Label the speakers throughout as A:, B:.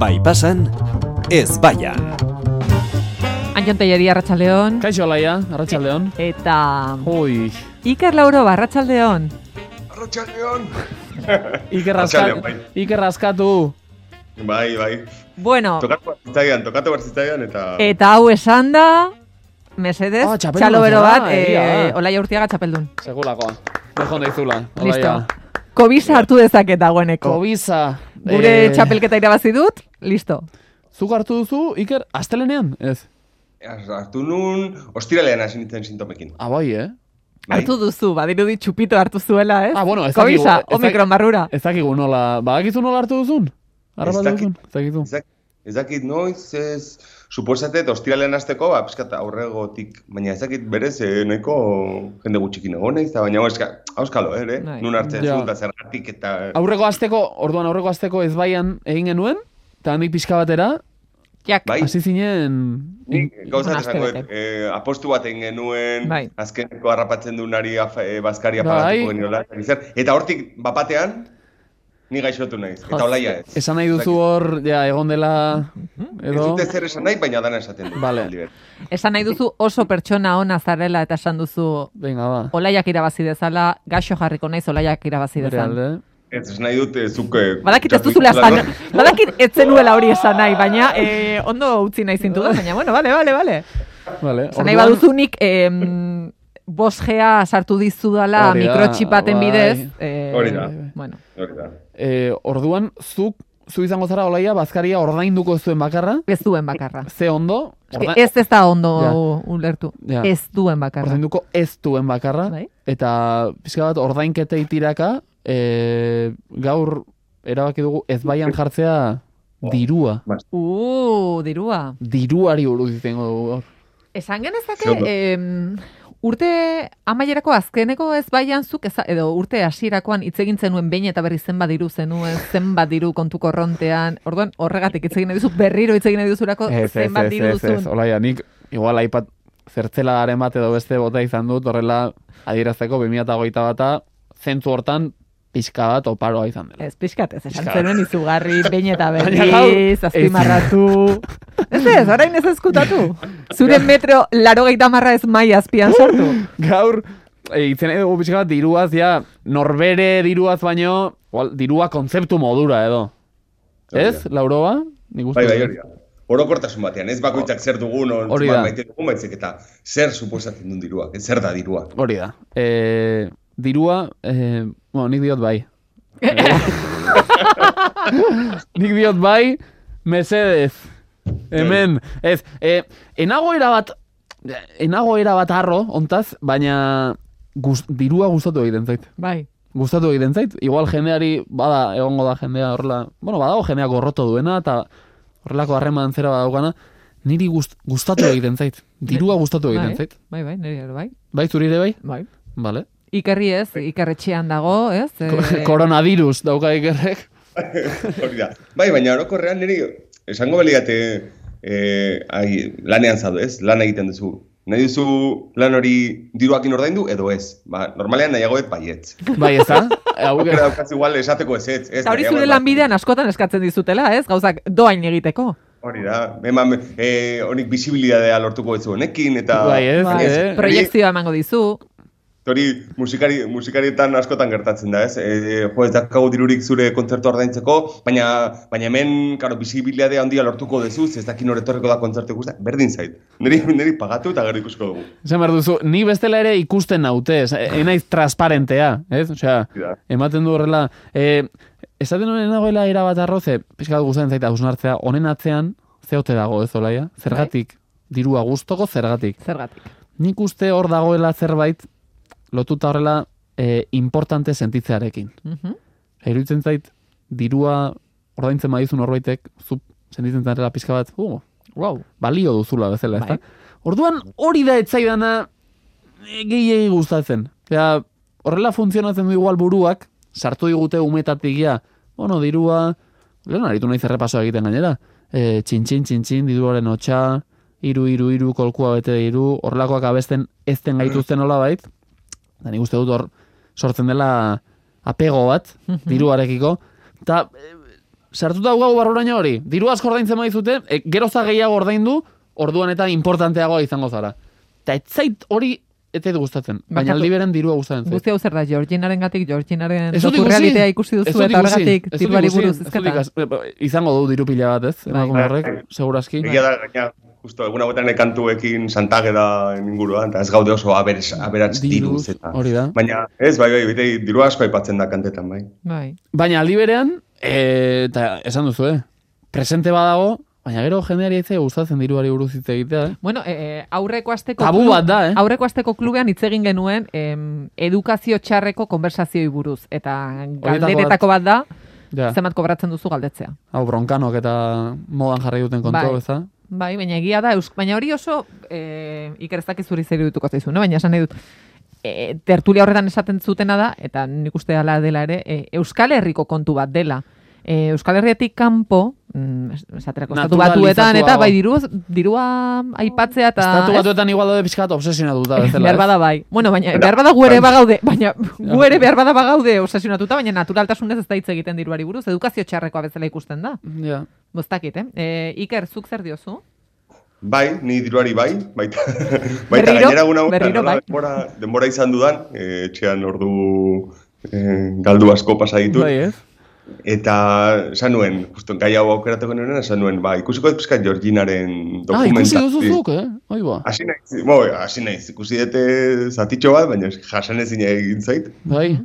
A: Bai pasan, ez baian.
B: Antion Telleri, Arratxaldeon.
C: Kaixo laia, arratsaldeon.
B: Eta
C: Hoi.
B: Iker Lauro, Arratxaldeon.
D: Arratxaldeon.
C: Iker
D: Arratsaldeon,
C: raskatu.
D: bai.
C: Iker raskatu.
D: Bai, bai.
B: Bueno,
D: Tokatu bat zitzaidan, tokatu bat zitzaidan, eta...
B: eta hau esan da, mesedez,
C: Ah, txapeldun
B: txalo bero
C: bat
B: bat,
C: da, egia
B: e,
C: da.
B: Olaia Urtiaga txapeldun.
C: Segulakoa. Dejon daizula.
B: Listo. Kobisa hartu dezaket dagoeneko.
C: Kobiza. Eh,
B: Gure txapelketa irabazi dut, listo.
C: Zuk hartu duzu, Iker, astelenean? Ez.
D: Hartu nun, ostiralean hasi nintzen sintomekin.
C: Ah, bai, eh?
D: Bai.
B: Hartu duzu, badirudi txupito hartu zuela, ez?
C: Ah, bueno, ez dakigu-
B: Kobisa,
C: ez dak-
B: omikron barrura.
C: Ez dakigu nola, badakizu nola hartu duzun? Arra
D: Ez
C: bat
D: dakit.
C: duzun? Ez dakizu.
D: Ez dak- Ez dakit noiz, ez... Suposatet, ostiralean hasteko, ba, pixkat aurregotik, baina ez dakit berez, eh, nahiko jende gutxikin egon naiz, eta baina hauska, hauskalo, ere? Eh?
B: Bai.
D: Nun hartzen
C: Ja.
D: zu, eta zergatik, eta...
C: Aurreko asteko, orduan aurreko asteko ez baian egin genuen, eta handik pixka batera,
B: Jak,
D: Bai.
C: hasi zinen...
D: Nik gauza
B: Un
D: bat esango,
B: aste bete.
D: dut, eh, apostu bat egin genuen,
B: Bai.
D: azkeneko harrapatzen du nari af, eh, bazkari
C: Bai.
D: apagatuko geniola, eta zer. eta hortik bapatean, ni gaixotu naiz, eta olaia ez.
C: Esan nahi duzu hor, ja, egon dela...
D: Mhm. Ez
C: Edo...
D: dute zer esan nahi, baina dana esaten dut.
C: Vale.
D: Oliver.
B: esan nahi duzu oso pertsona ona zarela eta esan duzu
C: Venga, ba.
B: Olaiak irabazi dezala, gaxo jarriko naiz olaiak irabazi
C: Bere
B: dezan.
C: alde.
D: Ez esan nahi dut, eh, zuk... eh,
B: Badakit ez
D: txartu
B: duzula
D: dituzula,
B: esan,
D: no?
B: badakit ez zenuela hori esan nahi, baina eh, ondo utzi nahi zintu da, baina bueno, bale, bale, bale.
C: Vale.
B: Esan nahi
C: orduan-
B: baduzu nik em, bosgea sartu dizudala
C: Hori da,
B: mikrochip baten
C: bai.
B: bidez. eh,
D: Hori da.
B: Bueno,
D: Hori da.
C: E, orduan, zuk, zu izango zara olaia, bazkaria ordainduko ez duen bakarra,
B: ez duen bakarra.
C: ze ondo,
B: Eske
C: orda-
B: Ez ez da ondo
C: Ja.
B: ulertu.
C: Ja.
B: Ez duen bakarra.
C: ordainduko ez duen bakarra,
B: Bai.
C: eta pixka bat ordainketei tiraka, e, gaur erabaki dugu ez baian jartzea dirua.
B: Uh, dirua.
C: Diruari buruz izango dugu gaur.
B: Esan
D: Ze
B: genezake,
D: ondo.
B: em, urte amaierako azkeneko ez baian zuk, eza- edo urte hasierakoan hitz egin zenuen behin eta berri zenbat diru zenuen, zenbat diru kontuko korrontean, orduan horregatik hitz egin nahi duzu, berriro hitz egin nahi duzurako zenbat diru duzun.
C: olaia, nik igual aipat zertzeladaren bat edo beste bota izan dut, horrela adierazteko 2008 bata, zentzu hortan pixka bat oparoa izan dela.
B: Ez, pixkat, ez esan
C: Pixkat.
B: zenuen izugarri, behin eta
C: Baina gaur,
B: berriz,
C: ez.
B: azpimarratu. Ez ez, orain ez ezkutatu. Zure metro laro marra ez maia azpian sartu.
C: gaur e, itzen nahi dugu pixka bat diruaz, ja, norbere diruaz baino, igual, dirua kontzeptu modura edo.
D: Hori
C: Ez, Lauroa? Nik uste
D: Bai, bai,
C: dut. Oh.
D: hori da. Orokortasun batean, ez bakoitzak zer dugun, on,
C: Hori da.
D: zenbat maite dugun, baizik eta zer suposatzen duen dirua, ez zer da dirua.
C: Hori da. E, dirua, e, bueno, nik diot bai. E, nik diot bai, mesedez. Hemen,
D: Bai.
C: ez, e, enago erabat, enago erabat arro, ontaz, baina guz, dirua gustatu egiten zait.
B: Bai.
C: gustatu egiten zait. Igual jendeari, bada, egongo da jendea horrela, bueno, badago jendea gorroto duena, eta horrelako harreman zera badaukana, niri gust, gustatu egiten zait. Dirua gustatu egiten
B: Bai,
C: zait.
B: bai, bai, nire ere bai.
C: Bai, zuri ere bai?
B: Bai.
C: Vale.
B: Ikerri ez, ikerretxean dago, ez? Eh,
C: Koronavirus dauka ikerrek.
D: Hori da. Bai, baina orokorrean niri esango baliate eh, ai, lanean zaude, ez? Lan egiten duzu. Nahi duzu lan hori diruakin ordaindu edo ez? Ba, normalean nahiago et baietz.
C: Bai, ez da? Hau
D: Aukera daukaz igual esateko ez ez. ez
B: Eta hori
D: nahiago ba-
B: zure
D: et
B: lanbidean askotan eskatzen dizutela, ez? Gauzak doain egiteko.
D: Hori da, eman, eh, honik bisibilidadea lortuko ez honekin, eta...
C: Bai, ez,
B: Bai,
C: eh?
B: proiekzioa emango dizu.
D: Hori musikari, musikarietan askotan gertatzen da, ez? E, jo, ez dakago dirurik zure kontzertu ordaintzeko, baina, baina hemen, karo, bisibilidadea handia lortuko dezuz, ez dakin horretorreko da kontzertu guztia, berdin zait. Neri, neri pagatu eta gero ikusko dugu.
C: Esan behar duzu, ni bestela ere ikusten naute, ez? E- Enaiz transparentea, ez? Osea,
D: Ja.
C: ematen du horrela, e, esaten honen nagoela erabat arroze, pixka bat gustatzen zaita hausnartzea, honen atzean, zeote dago ez olaia, zergatik, dirua gustoko zergatik.
B: Zergatik.
C: Nik uste hor dagoela zerbait, lotuta horrela, e, importante sentitzearekin.
B: Mhm.
C: Iruditzen zait, dirua ordaintzen badizu norbaitek, zu sentitzen zarela pixka bat, uh,
B: Wow.
C: balio duzula bezala, ezta?
B: Bai.
C: Orduan hori da etzaidana e, gehiegi gustatzen. Osea, horrela funtzionatzen du igual buruak, sartu digute umetatik ja, bueno, dirua, lehen aritu nahi zerrepaso egiten gainera, e, txintxin, txintxin, diruaren hotxa, iru, iru, iru, kolkua bete diru, horrelakoak abesten ezten gaituzten nola bait, da nik uste dut
B: Mhm.
C: hor sortzen dela apego bat, diruarekiko, eta sartuta hau barruraino hori, diru asko ordaintzen badizute, e, geroza gehiago ordaindu, orduan eta importanteagoa izango zara. Eta ez zait hori ez zait gustatzen, baina
B: Barkatu.
C: aldi beren dirua gustatzen zait.
B: Guzti hau zer da, Georginaren gatik, Georginaren
C: Ez dut ikusi.
B: realitatea ikusi
C: Ez
B: duzu
C: dut
B: eta
C: ikusi,
B: horregatik
C: ez dut
B: diruari
C: ikusi,
B: buruz
C: ez dut
B: izketan.
C: ikas- eh, Izango du diru pila bat, ez?
B: Bai.
C: Emakume horrek, seguraski.
D: Egia da, gaina, justo, eguna botan kantuekin santage da inguruan, eta ez gaude oso aberes, aberats diruz. Eta.
C: hori da.
D: Baina, ez, bai, bai, beti diru asko aipatzen da kantetan, bai.
B: Bai.
C: Baina aldi berean, eh, eta esan duzu, eh? Presente badago, baina gero jendeari ez zaio gustatzen diruari buruz hitz egitea, eh?
B: Bueno, eh, aurreko asteko
C: Tabu bat da, eh?
B: Aurreko asteko klubean hitz egin genuen em, edukazio txarreko konversazioi buruz eta galderetako bat da
C: Ja,
B: zenbat kobratzen duzu galdetzea.
C: hau bronkanok eta modan jarri duten kontua,
B: Bai.
C: ez da?
B: Bai, baina egia da, eus- baina hori oso eh, ikereztak izuri zer dutuko zaizu, no? baina esan nahi dut, eh, tertulia horretan esaten zutena da, eta nik uste dela dela ere, eh, Euskal Herriko kontu bat dela. Eh, Euskal Herriatik kanpo, mm, es- esaterako estatu batuetan, eta bai diruz, dirua aipatzea eta...
C: Estatu
B: ez?
C: batuetan igual daude pixkat obsesiona duta, bezala.
B: behar
C: ez?
B: bada bai. Bueno, baina behar bada gu ere bagaude, baina gu ere behar bada bagaude obsesionatuta, baina naturaltasunez ez da hitz egiten diruari buruz, edukazio txarrekoa bezala ikusten da.
C: Ja.
B: Boztakit, eh? E, Iker, zuk zer diozu?
D: Bai, ni diruari bai, baita, baita
B: Berriro,
D: gainera guna
B: berriro bai.
D: denbora, denbora izan dudan, eh, etxean ordu eh, galdu asko pasa ditut.
C: Bai, ez?
D: Eta esan nuen, justo gai hau aukeratuko nuen, esan nuen, ba, ikusiko ez pizkat Georginaren
C: Ah, ikusi
D: dokumenta.
C: duzu zuk, eh? Oi ba.
D: Hasi naiz, bo, hasi naiz, ikusi dute zatitxo bat, baina jasan ezin egin zait.
C: Bai.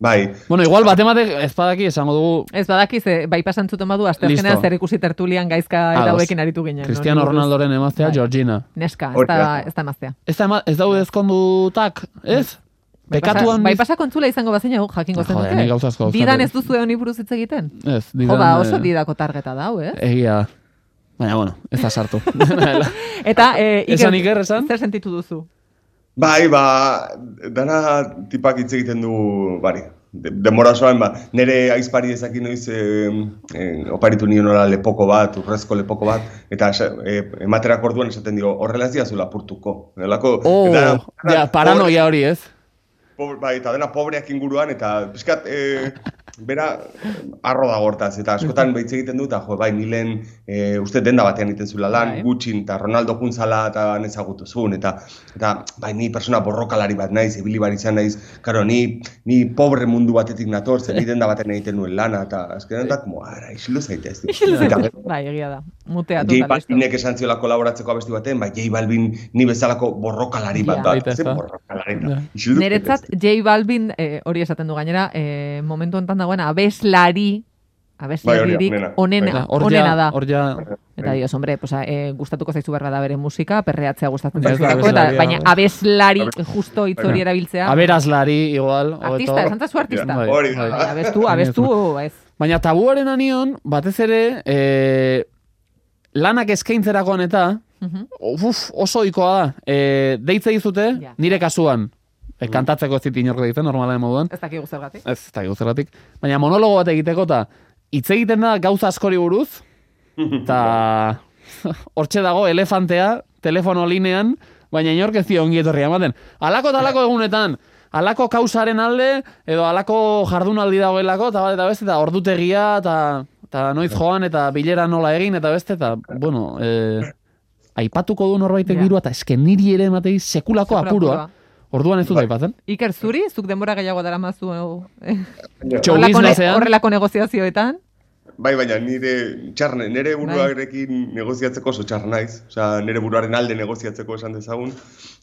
D: Bai,
C: Bueno, igual batematek ezpadaki esango dugu
B: Ez badakiz, eh, bai pasantzuten badu, azterkenean
C: Listo.
B: zer ikusi tertulian gaizka eta
C: Ados.
B: hauekin aritu ginen.
C: Cristiano
B: honi buruz.
C: Ronaldoren emaztea
B: Bai.
C: Georgina.
B: Neska, ez
D: Hori
B: da,
D: da.
B: ez da emaztea.
C: Ez, da, ema- ez daude ezkondutak, ez? Bekatuan... Ah,
B: Bai pasa kontzula izango bazeina guk jakingo zen
C: Joder, nik gauza asko
B: dute.
C: dauzkat,
B: Didan
C: eh.
B: ez duzu honi buruz hitz egiten?
C: Ez, didan...
B: Jo, ba,
C: eh,
B: oso didako targeta da, hau, eh?
C: Egia da. Baina, bueno, ez da sartu.
B: Eta, eh, Iker,
C: Esan, Iker, esan?
B: zer sentitu duzu?
D: Bai, ba, dana tipak hitz egiten du, bari, de- denbora osoan, ba, nire aizpari ezaki noiz eh, eh, oparitu nionola lepoko bat, urrezko lepoko bat, eta esa- eh, ematerak orduan esaten dio, horrela ez diazu lapurtuko. Delako,
C: oh,
D: dana-
C: ja, paranoia hori, ez?
D: Pobre, bai, eta dena pobreak inguruan, eta pixkat, e, bera, arro da gortaz, eta askotan behitz egiten du, eta jo, bai, nilen, e, uste denda batean egiten zula lan,
B: Bai.
D: gutxin, eta Ronaldo juntzala, eta nezagutu zuen, eta, eta bai, ni persona borrokalari bat naiz, ibili bar izan naiz, karo, ni, ni pobre mundu batetik nator, zer ni denda batean egiten nuen lana, eta azkenean da, como, ara, isilu zaitez. Eta gero-
B: bai, egia da. Mutea
D: J
B: total. listo.
D: Balbinek esan ziola kolaboratzeko abesti baten, bai J Balbin ni bezalako borrokalari bat
B: Ja.
D: da.
C: Baita,
D: Zer
C: ezta?
D: borrokalari
C: Ja.
D: da. Isildu
B: Niretzat J Balvin eh, hori esaten du gainera, eh, momentu hontan dagoen abeslari, abeslaririk
D: Bai, hori, onena.
B: onena,
D: Ja,
C: Hor
B: onena
C: ja,
B: da.
C: hor ja...
B: Eta
C: Bai.
B: dioz, hombre, pues, eh, gustatuko zaizu berra da bere musika, perreatzea gustatzen
C: Ez da
B: zaizulako, eta
C: abeslaria.
B: baina abeslari justo hitz hori erabiltzea.
C: Aberazlari, igual. hobeto.
B: Artista, esan zu artista.
C: Bai,
D: Hori da.
C: bai.
B: Baina abestu, abestu, ez.
C: Baina tabuaren anion, batez ere, e, lanak eskaintzerakoan eta,
B: Mhm.
C: uf, oso ohikoa da. E, deitze dizute,
B: Ja.
C: nire kasuan, e, kantatzeko ez dit inork deitzen, normalen moduan,
B: Ez dakigu zergatik.
C: ez, eta gau zergatik, baina monologo bat egiteko eta, hitz egiten da gauza askori buruz, eta hortxe dago elefantea, telefono linean, baina inork ez dio ongi etorria ematen. Alako eta alako egunetan, alako kausaren alde, edo alako jardunaldi dagoelako, eta bat eta beste, eta ordutegia, eta, eta noiz joan, eta bilera nola egin, eta beste, eta, bueno, eh, aipatuko du norbaitek
B: Ja.
C: dirua, eta esken niri ere ematei sekulako
B: Sekula
C: apurua.
B: apurua.
C: Orduan ez dut aipatzen.
B: Iker zuri, zuk denbora gehiago dara mazu
D: Baina-
C: Txau.
B: horrelako, ne-
C: biznasean.
B: horrelako negoziazioetan.
D: Bai, baina nire txarne, nire
C: Bai.
D: buruarekin negoziatzeko oso txar naiz. Osea, nire buruaren alde negoziatzeko esan dezagun.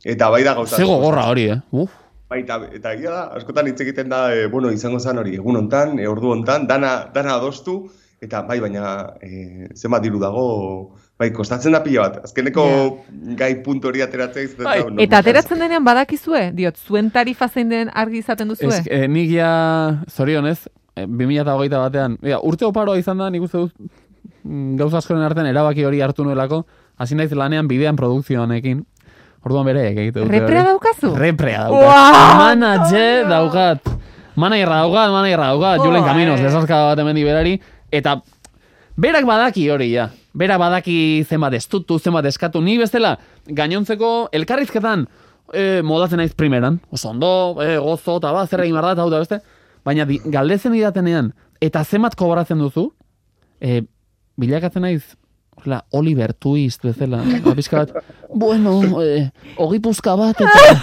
D: Eta bai da gauza.
C: Zego gorra hori, eh? Uf.
D: Bai, eta, eta egia da, askotan hitz egiten da, e, bueno, izango zen hori, egun hontan, e, ordu hontan, dana, dana adostu, eta bai, baina e, zenbat diru dago, bai, kostatzen da pila bat. Azkeneko gai puntu hori ateratzea izaten
C: Bai,
D: da.
B: Eta ateratzen denean badakizue, diot, zuen tarifa zein den argi izaten duzue?
C: Ez, eh, nik ja, zorionez, eh, 2008 batean, ja, urte oparoa izan da, nik uste dut, mm, gauza askoren artean erabaki hori hartu nuelako, hasi naiz lanean bidean produkzioanekin, orduan bere eh, egite dute.
B: Reprea
C: hori.
B: daukazu?
C: Reprea daukat.
B: Ua,
C: Manaje
B: Antonio!
C: daukat. Managerra daukat, managerra daukat,
B: Jo,
C: ba, Julen Caminos,
B: eh.
C: lesarka bat hemen berari, eta berak badaki hori, ja. Berak badaki zenbat estutu, zenbat eskatu, ni bestela, gainontzeko elkarrizketan, e, modatzen naiz primeran, oso ondo, e, gozo, eta ba, zer egin behar da, eta hau da beste, baina di, galdezen didatenean, eta zenbat kobratzen duzu, e, bilakatzen naiz, horrela, Oliver Twist bezala, ba, pizka bat, bueno, e, ogi puzka bat, eta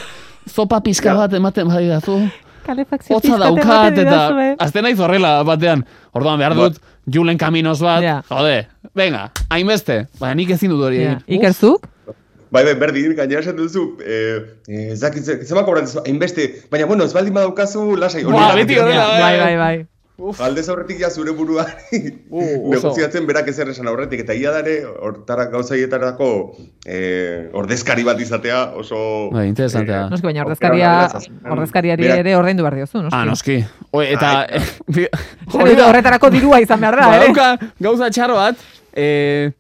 C: zopa pizka bat ematen badidazu,
B: Kalefakzio
C: hotza daukat,
B: eh?
C: eta azten naiz horrela batean, orduan behar dut, Julen Kaminos bat,
B: Ja.
C: jode, venga, hainbeste, baina nik ezin dut hori egin.
B: Ikerzuk?
D: Bai, bai, berdin, gainera esan duzu, eh, eh, ez dakit, ze- zenbat kobratzen zu, hainbeste, baina, bueno, ez baldin badaukazu, lasai, hori
C: Ba,
D: da,
C: beti
D: beti-
C: horrela,
B: Bai, bai, bai.
D: Aldez aurretik ja zure burua
C: Uh, oso.
D: negoziatzen berak ezer esan aurretik eta ia dare hortara gauzaietarako eh, ordezkari bat izatea oso
C: Bai, interesantea.
B: Noski, baina
D: aukera
B: ordezkaria,
D: ona da,
B: ordezkariari
D: berak-
B: ere ordaindu behar diozu,
C: Ah,
B: noski.
C: noski. O, eta...
B: Hori da, horretarako dirua izan behar da, eh? ere.
C: Badauka, Ba, gauza txaro bat, eh,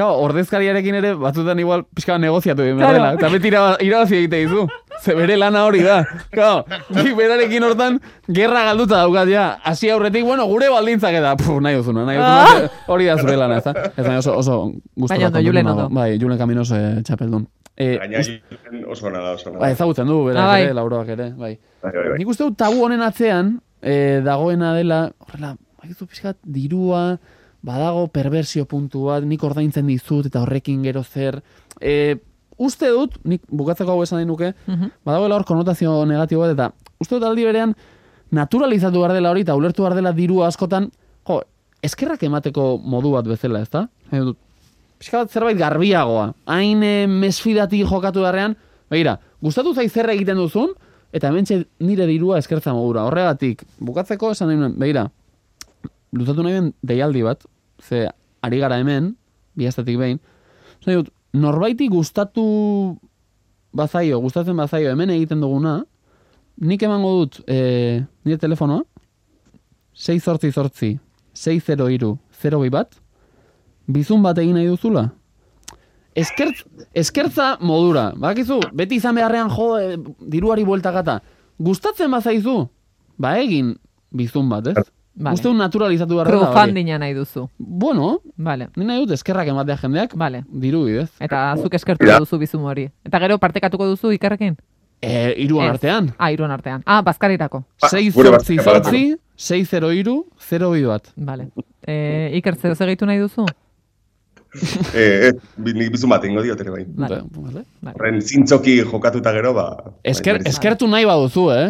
C: Kao, ordezkariarekin ere, batzutan igual pixka bat negoziatu egin behar
B: Claro.
C: dela. Eta beti ira- irabazi egite dizu. Ze bere lana hori da. Kao, nik berarekin hortan, gerra galduta daukat ja. Hasi aurretik, bueno, gure baldintzak eta, puf, nahi duzuna, nahi duzuna. Hori da zure lana, ezta? Ez da, oso, oso gustora
B: Ah. Baina ondo,
C: kontentu
B: Julen
C: nago.
B: ondo.
C: Bai, Julen Kaminoso eh, txapeldun. Eh,
D: Gaina Julen oso ona da, oso ona
C: Ba,
D: da.
C: ezagutzen du, berak
B: Ah, bai.
C: ere, lauroak ere, bai.
D: Bai, bai, bai.
C: Nik uste dut tabu honen atzean, e, dagoena dela, horrela, bakizu pixkat, dirua, badago perversio puntu bat, nik ordaintzen dizut, eta horrekin gero zer. E, uste dut, nik bukatzeko hau esan nahi nuke,
B: Mhm.
C: badagoela hor konotazio negatibo bat, eta uste dut aldi berean, naturalizatu behar dela hori, eta ulertu behar dela dirua askotan, jo, eskerrak emateko modu bat bezala, ezta? Nahi dut, pixka bat zerbait garbiagoa. Hain eh, mesfidati jokatu beharrean, begira, gustatu zaiz zer egiten duzun, eta hementxe nire dirua eskertza modura. Horregatik, bukatzeko esan nahi nuen, begira, luzatu nahi den deialdi bat, ze ari gara hemen, bihaztatik behin, esan nahi dut, norbaiti gustatu bazaio, gustatzen bazaio hemen egiten duguna, nik emango dut e, nire telefonoa, 6 sortzi sortzi, 6-0 iru, 0 bat, bizun bat egin nahi duzula. Eskertz, eskertza modura, bakizu, beti izan beharrean jo, eh, diruari buelta gata. Gustatzen bazaizu, ba egin bizun bat, ez?
B: Vale.
C: Uste dut naturalizatu behar dela hori.
B: Crowdfundinga nahi duzu.
C: Bueno,
B: Vale,
C: ni nahi dut eskerrak ematea jendeak,
B: vale.
C: diru bidez.
B: Eta zuk eskertu duzu bizum hori. Eta gero partekatuko duzu ikerrekin?
C: E, iruan
B: Ez.
C: artean.
B: Ah, iruan artean. Ah, bazkarirako.
D: Ba,
C: 6
D: gure
C: zortzi
D: bazkaria
C: zortzi, 6-0 iru, 0 bat.
B: Vale. E, iker, zeo segitu nahi duzu?
D: Eh, eh, bi- nik bizun bat ingo diot ere bai.
B: Vale.
C: Ba, vale.
B: vale.
D: Horren zintzoki jokatuta gero, ba...
C: Esker,
D: bai,
C: eskertu nahi baduzu, eh?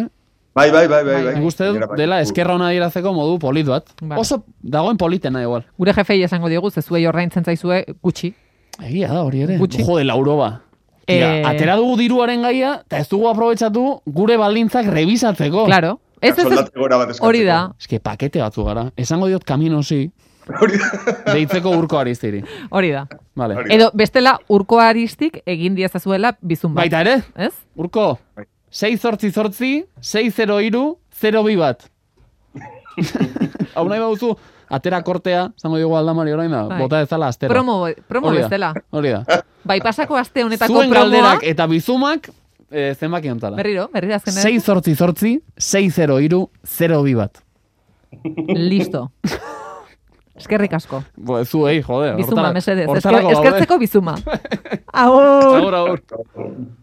D: Bai, bai, bai, bai, bai.
C: Nik uste
D: Gainera,
C: dut
D: bai.
C: dela eskerra ona dirazeko modu polit bat.
B: Vale.
C: Oso dagoen politena igual.
B: Gure jefei esango diogu, zezuei ordaintzen zaizue gutxi.
C: Egia da hori ere.
B: Gutxi.
C: Jode, lauro ba.
B: Eh,
C: Ia, atera dugu diruaren gaia, eta ez dugu aprobetsatu gure baldintzak revisatzeko.
B: Claro. Ez, ez, ez,
D: Soldata gora bat eskatzeko.
B: hori da,
C: Eske pakete batzu gara. Esango diot kaminosi
D: Hori da.
C: deitzeko urko ariztiri.
B: hori da.
C: Vale.
D: Hori.
B: Edo, bestela, urko aristik egin diezazuela bizun bat.
C: Baita ere,
B: Ez?
C: urko, 6 zortzi zortzi, 6-0 iru, 0 bi bat. Hau nahi baduzu, atera kortea, zango dugu aldamari orain da,
B: Bai.
C: bota ezala astero.
B: Promo, promo
C: Hori da,
B: bestela.
C: Hori da.
B: Bai, pasako aste honetako
C: Zuen
B: promoa.
C: galderak eta bizumak, eh, zenbaki ontara.
B: Berriro, berriro azkenean.
C: 6 zortzi zortzi, 6-0 iru, 0 bi bat.
B: Listo. Eskerrik asko.
C: Bo, zu, ei, jode.
B: Bizuma,
C: hortara-
B: mesedez.
C: hortarako
B: Esker,
C: gaude.
B: eskertzeko bizuma. Agur!
C: Agur, agur.